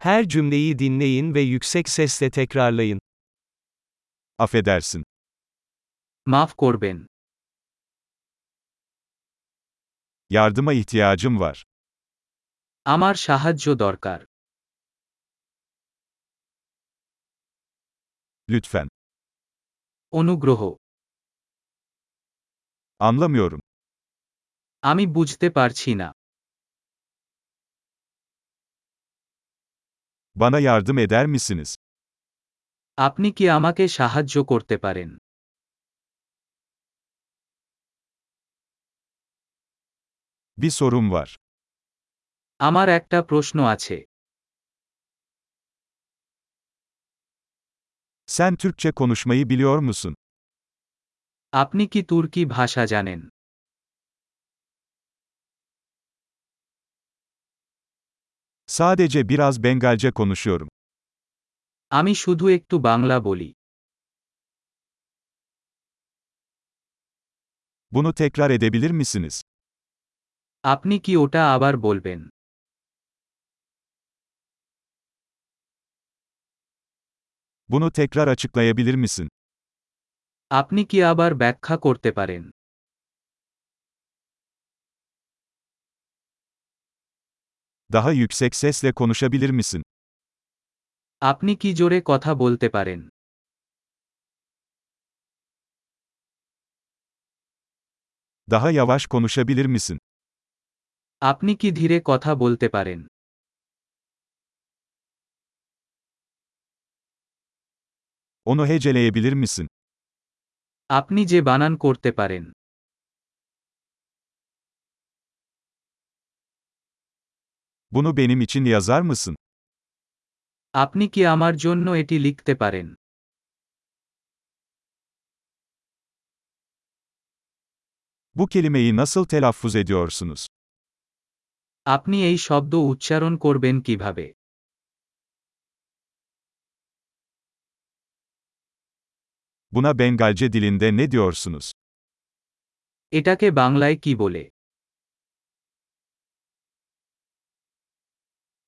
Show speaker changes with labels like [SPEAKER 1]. [SPEAKER 1] Her cümleyi dinleyin ve yüksek sesle tekrarlayın.
[SPEAKER 2] Affedersin.
[SPEAKER 3] মাফ করবেন
[SPEAKER 2] Yardıma ihtiyacım var.
[SPEAKER 3] আমার সাহায্য দরকার
[SPEAKER 2] Lütfen.
[SPEAKER 3] অনুগ্রহ
[SPEAKER 2] Anlamıyorum.
[SPEAKER 3] আমি বুঝতে পারছি না
[SPEAKER 2] Bana yardım eder misiniz?
[SPEAKER 3] আপনি কি আমাকে সাহায্য করতে পারেন
[SPEAKER 2] Bir sorum var.
[SPEAKER 3] আমার একটা প্রশ্ন আছে
[SPEAKER 2] Sen Türkçe konuşmayı biliyor musun?
[SPEAKER 3] আপনি কি তুর্কি ভাষা জানেন
[SPEAKER 2] Sadece biraz Bengalce konuşuyorum.
[SPEAKER 3] আমি শুধু একটু বাংলা বলি
[SPEAKER 2] Bunu tekrar edebilir misiniz?
[SPEAKER 3] আপনি কি ওটা আবার বলবেন
[SPEAKER 2] Bunu tekrar açıklayabilir misin?
[SPEAKER 3] আপনি কি আবার ব্যাখ্যা করতে পারেন
[SPEAKER 2] Daha yüksek sesle konuşabilir misin?
[SPEAKER 3] আপনি কি জোরে কথা বলতে পারেন
[SPEAKER 2] Daha yavaş konuşabilir misin?
[SPEAKER 3] আপনি কি ধীরে কথা বলতে পারেন
[SPEAKER 2] Onu heceleyebilir misin?
[SPEAKER 3] আপনি যে বানান করতে পারেন
[SPEAKER 2] Bunu benim için yazar mısın?
[SPEAKER 3] আপনি কি আমার জন্য এটি লিখতে পারেন
[SPEAKER 2] Bu kelimeyi nasıl telaffuz ediyorsunuz?
[SPEAKER 3] আপনি এই শব্দ উচ্চারণ করবেন কিভাবে
[SPEAKER 2] Buna Bengalce dilinde ne diyorsunuz?
[SPEAKER 3] এটাকে বাংলায় কি বলে